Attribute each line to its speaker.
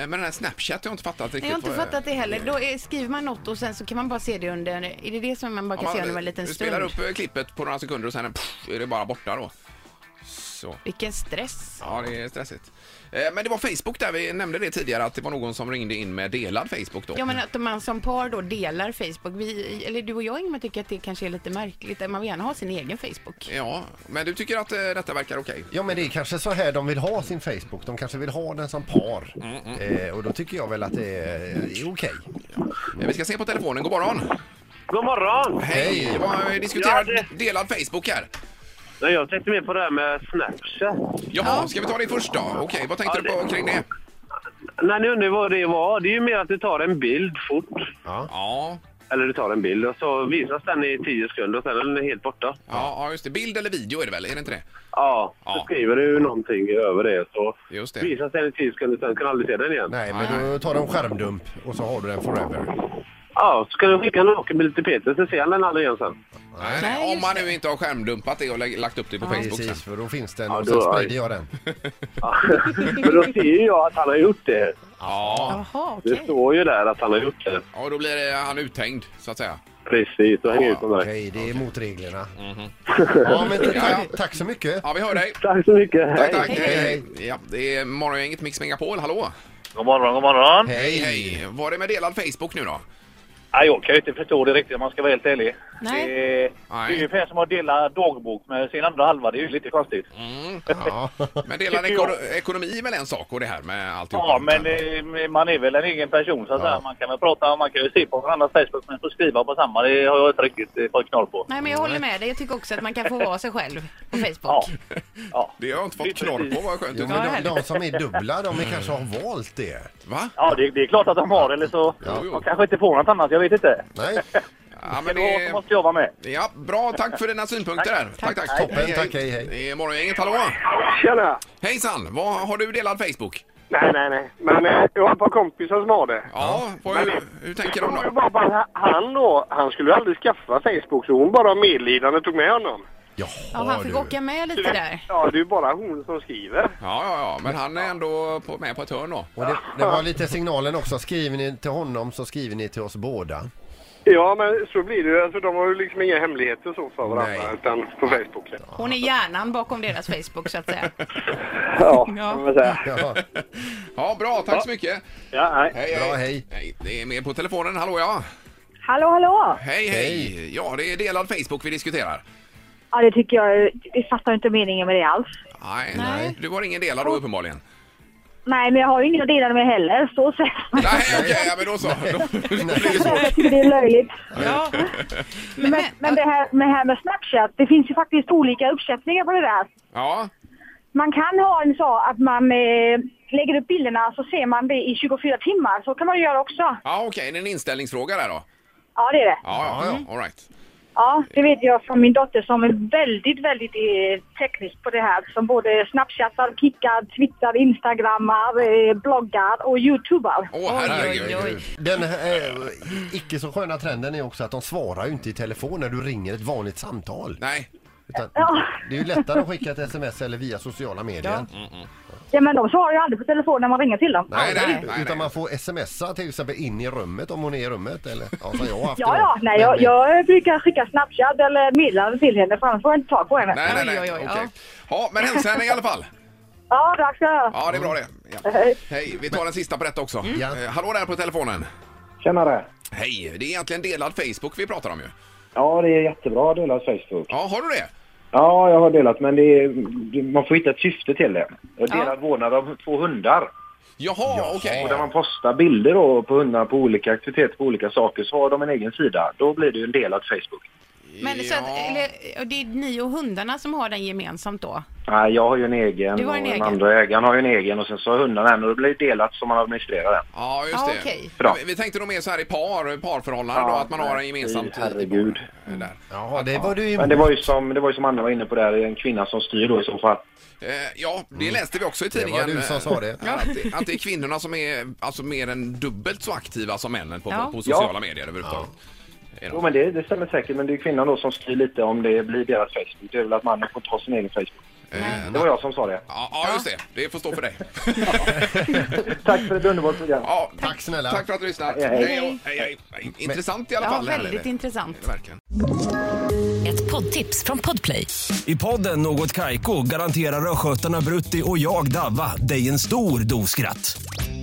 Speaker 1: Eh, Men den här Snapchat har jag inte fattat riktigt.
Speaker 2: Nej, jag har inte
Speaker 1: vad-
Speaker 2: fattat det heller. Då är, skriver man något och sen så kan man bara se det under... Är det det som man bara
Speaker 1: Ja,
Speaker 2: kan se under en liten
Speaker 1: du
Speaker 2: stund?
Speaker 1: spelar upp eh, klippet på några sekunder och sen pff, är det bara borta då. Så.
Speaker 2: Vilken stress.
Speaker 1: Ja, det är stressigt. Eh, Men det var Facebook där, vi nämnde det tidigare, att det var någon som ringde in med delad Facebook då.
Speaker 2: Ja men att man som par då delar Facebook. Vi, eller du och jag Ingmar tycker att det kanske är lite märkligt. att Man vill gärna ha sin egen Facebook.
Speaker 1: Ja, men du tycker att eh, detta verkar okej?
Speaker 3: Ja men det är kanske så här de vill ha sin Facebook. De kanske vill ha den som par. Eh, och då tycker jag väl att det är, är okej.
Speaker 1: Eh, Vi ska se på telefonen, god morgon.
Speaker 4: God morgon!
Speaker 1: Hej!
Speaker 3: Hej.
Speaker 1: Vad- Vi diskuterar
Speaker 4: Ja, det-
Speaker 1: delad Facebook här.
Speaker 4: Ja, Jag tänkte mer på det här med Snapchat.
Speaker 1: Jaha, ska vi ta det först då? Okej, vad tänkte
Speaker 4: Ja,
Speaker 1: du på
Speaker 4: det-
Speaker 1: kring det?
Speaker 4: När ni undrar vad det var, det är ju mer att du tar en bild fort.
Speaker 1: Ja,
Speaker 4: Eller du tar en bild och så visas den i tio sekunder och sen är den helt borta.
Speaker 1: ja, ja, just det. Bild eller video är det väl? Är det inte det?
Speaker 4: Ja,
Speaker 1: Ja.
Speaker 4: så skriver du någonting över det så
Speaker 1: Just det.
Speaker 4: visas den i tio sekunder och sen kan du aldrig se den igen.
Speaker 3: Nej men då tar de skärmdump och så har du den forever.
Speaker 4: Ja, så kan du skicka en nakenbild till Peter så ser han den aldrig igen sen.
Speaker 1: Nej,
Speaker 2: Nej,
Speaker 1: om
Speaker 2: just
Speaker 1: man
Speaker 2: det.
Speaker 1: nu inte har skärmdumpat det och lä- lagt upp det på Facebook sen.
Speaker 3: Precis, för då finns den
Speaker 4: Ja,
Speaker 3: och
Speaker 4: då
Speaker 3: sen
Speaker 4: har-
Speaker 3: sprider jag den.
Speaker 4: Men då ser ju jag att han har gjort det.
Speaker 1: Ja,
Speaker 2: Jaha, okej.
Speaker 4: Det står ju där att han har gjort det.
Speaker 1: och då blir det han uthängd så att säga.
Speaker 4: Precis, och hänger ut honom direkt.
Speaker 3: Okej, det är mot reglerna. Ja men
Speaker 1: Ja,
Speaker 3: tack, tack så mycket.
Speaker 1: Ja, vi hör dig.
Speaker 4: Tack så mycket.
Speaker 1: Tack, tack.
Speaker 3: Hej.
Speaker 1: Hej, hej. Ja, det är Morgongänget Mix Megapol. Hallå!
Speaker 5: God morgon, god morgon.
Speaker 1: Hej,
Speaker 3: Hej.
Speaker 1: hej. Var det med delad Facebook nu då?
Speaker 5: Nej, jag kan ju inte förstå det riktigt om man ska vara helt ärlig.
Speaker 2: Nej.
Speaker 5: Det, är- det är
Speaker 1: Nej.
Speaker 5: ju ungefär som att dela dagbok med sin andra halva. Det är ju lite konstigt.
Speaker 3: Ja.
Speaker 1: Men delad
Speaker 5: Tycker jag.
Speaker 1: eko- ekonomi är väl en sak och det här med alltihopa.
Speaker 5: Ja, men eh, man är väl en egen person så att säga. Man kan väl prata, man kan ju se på varandras Facebook men så skriva på samma, det har jag inte riktigt eh, fått knall på.
Speaker 2: Nej men jag håller med dig. Jag tycker också att man kan få vara sig själv på Facebook.
Speaker 5: Ja. Ja.
Speaker 1: Det har jag inte fått knorr på, vad skönt.
Speaker 3: Jo,
Speaker 1: utan-
Speaker 3: men de, de som är dubbla, de kanske har valt det.
Speaker 1: Va?
Speaker 5: Ja, det, det är klart att de har eller så
Speaker 1: Ja.
Speaker 5: de kanske inte får något annat, jag vet inte.
Speaker 3: Nej,
Speaker 1: Ja, men
Speaker 5: Men eh, då
Speaker 1: det...
Speaker 5: måste jag vara med.
Speaker 1: Ja, bra. Tack för dina synpunkter där. Tack, tack.
Speaker 3: Toppen, tack, hej, hej.
Speaker 1: Det är Morgongänget, hallå!
Speaker 6: Tjena!
Speaker 1: Hejsan! Vad, har du delad Facebook?
Speaker 6: Nej, nej, nej. Men eh, jag har ett par kompisar som har det.
Speaker 1: Ja, vad, hur, hur tänker de
Speaker 6: Det var ju
Speaker 1: då?
Speaker 6: bara bara han då, han skulle ju aldrig skaffa Facebook så hon bara av medlidande tog med honom.
Speaker 3: jaha
Speaker 2: Ja, han fick
Speaker 3: du.
Speaker 2: åka med lite där.
Speaker 6: Ja, det är ju bara hon som skriver.
Speaker 1: Ja, ja, ja, men han är ändå på, med på ett hörn då.
Speaker 3: Och det, det var lite signalen också. Skriver ni till honom så skriver ni till oss båda.
Speaker 6: Ja, men så blir det ju. Alltså, de har ju liksom inga hemligheter så för varandra,
Speaker 3: Nej.
Speaker 6: utan på Facebook.
Speaker 2: Hon är hjärnan bakom deras Facebook så att säga.
Speaker 4: Ja,
Speaker 2: Ja.
Speaker 4: kan man säga.
Speaker 3: Ja,
Speaker 1: Ja, bra. Tack så mycket.
Speaker 4: Ja, nej.
Speaker 1: Hej,
Speaker 3: Bra, hej.
Speaker 1: Det är med på telefonen. Hallå, ja.
Speaker 7: Hallå, hallå!
Speaker 1: Hej, hej. Ja, det är delad Facebook vi diskuterar.
Speaker 7: Ja, det tycker jag. Vi fattar inte meningen med det alls.
Speaker 1: Nej,
Speaker 2: Nej.
Speaker 1: du har ingen delad då uppenbarligen.
Speaker 7: Nej, men jag har ju ingen att dela med heller. Så så.
Speaker 1: Nej, okej, ja, men då så. Då blir det svårt.
Speaker 7: Jag tycker det är löjligt.
Speaker 2: Ja. Men,
Speaker 7: Men, men det här med, här med Snapchat, det finns ju faktiskt olika uppsättningar på det där.
Speaker 1: Ja,
Speaker 7: Man kan ha en så att man eh, lägger upp bilderna så ser man det i 24 timmar. Så kan man ju göra också.
Speaker 1: ja okej, det är en inställningsfråga där då.
Speaker 7: Ja, det är det.
Speaker 1: Ja, ja, all right.
Speaker 7: Ja, det vet jag från min dotter som är väldigt, väldigt eh, teknisk på det här. Som både Snapchattar, kickar, twittrar, instagrammar, eh, bloggar och youtubar.
Speaker 1: Åh, herregud.
Speaker 2: oj.
Speaker 3: Den eh, icke så sköna trenden är också att de svarar ju inte i telefon när du ringer ett vanligt samtal.
Speaker 1: Nej,
Speaker 3: Utan
Speaker 7: Ja.
Speaker 3: det är ju lättare att skicka ett sms eller via sociala medier.
Speaker 7: Ja, men de svarar ju aldrig på telefon när man ringer till dem.
Speaker 1: Nej, nej, nej, nej.
Speaker 3: Utan man får smsa till exempel in i rummet om hon är i rummet. Eller, ja, som jag har haft
Speaker 7: Ja,
Speaker 3: det.
Speaker 7: ja, nej, jag,
Speaker 3: Men-
Speaker 7: jag brukar skicka Snapchat eller meddelande till henne för annars får jag inte tag på henne.
Speaker 1: nej, nej, nej.
Speaker 2: Oj, oj, oj,
Speaker 1: Okej.
Speaker 2: ja.
Speaker 1: Ja, men hälsa i alla fall.
Speaker 7: Ja, tack så jag.
Speaker 1: Ja, det är bra det. Ja.
Speaker 7: Hej.
Speaker 1: Hej, vi tar den sista på detta också.
Speaker 2: Mm.
Speaker 3: Ja.
Speaker 1: Eh, Hallå där på telefonen.
Speaker 4: Tjenare!
Speaker 1: Hej, det är egentligen delad Facebook vi pratar om ju.
Speaker 4: Ja, det är jättebra att dela Facebook.
Speaker 1: Ja, har du det?
Speaker 4: Ja, jag har delat, men det är, man får hitta ett syfte till det. Jag delar
Speaker 2: Ja.
Speaker 4: vårdnad av två hundar.
Speaker 1: Jaha, okej.
Speaker 4: Och där man postar bilder då på hundarna på olika aktiviteter, på olika saker, så har de en egen sida. Då blir det ju en delad Facebook.
Speaker 2: Men så
Speaker 1: Ja.
Speaker 2: att, eller, och det är ni och hundarna som har den gemensamt då?
Speaker 4: Nej, jag har ju en egen
Speaker 2: Du har en
Speaker 4: och den
Speaker 2: egen.
Speaker 4: andra ägaren har ju en egen och sen så har hundarna en och det blir delat som man administrerar den.
Speaker 1: Ja, just
Speaker 2: Ja,
Speaker 1: det.
Speaker 2: okej.
Speaker 4: Bra.
Speaker 1: Vi- Vi tänkte nog mer så här i par, parförhållanden då, att man har en gemensam tid. Eh,
Speaker 4: Herregud.
Speaker 1: Där.
Speaker 3: Jaha, det var du
Speaker 4: Men det var ju som, det var ju som Anna var inne på där, en kvinna som styr då i så fall.
Speaker 1: Eh, Ja, det läste vi också i
Speaker 3: var
Speaker 1: tidningen.
Speaker 3: du som
Speaker 1: eh,
Speaker 3: sa det.
Speaker 1: Att, det- att det är kvinnorna som är alltså, mer än dubbelt så aktiva som männen på,
Speaker 2: Ja.
Speaker 1: på sociala medier överhuvudtaget. Är de.
Speaker 4: Jo men det, det stämmer säkert men det är kvinnan då som styr lite om det blir deras Facebook. Det är väl att mannen får ta sin egen Facebook. Det var jag som sa det.
Speaker 1: Ja, ja, just det. Det får stå för dig.
Speaker 4: Tack för ett underbart program.
Speaker 1: Ja,
Speaker 3: Tack snälla.
Speaker 1: Tack för att du lyssnar.
Speaker 4: Hej, hej.
Speaker 1: Hej, och- hej, hej. Intressant i alla
Speaker 2: Ja,
Speaker 1: fall. det här,
Speaker 2: väldigt
Speaker 1: det.
Speaker 2: intressant.
Speaker 1: Verkligen.
Speaker 8: Ett poddtips från Podplay.
Speaker 9: I podden Något Kaiko garanterar östgötarna Brutti och jag, Davva, dig en stor dos skratt.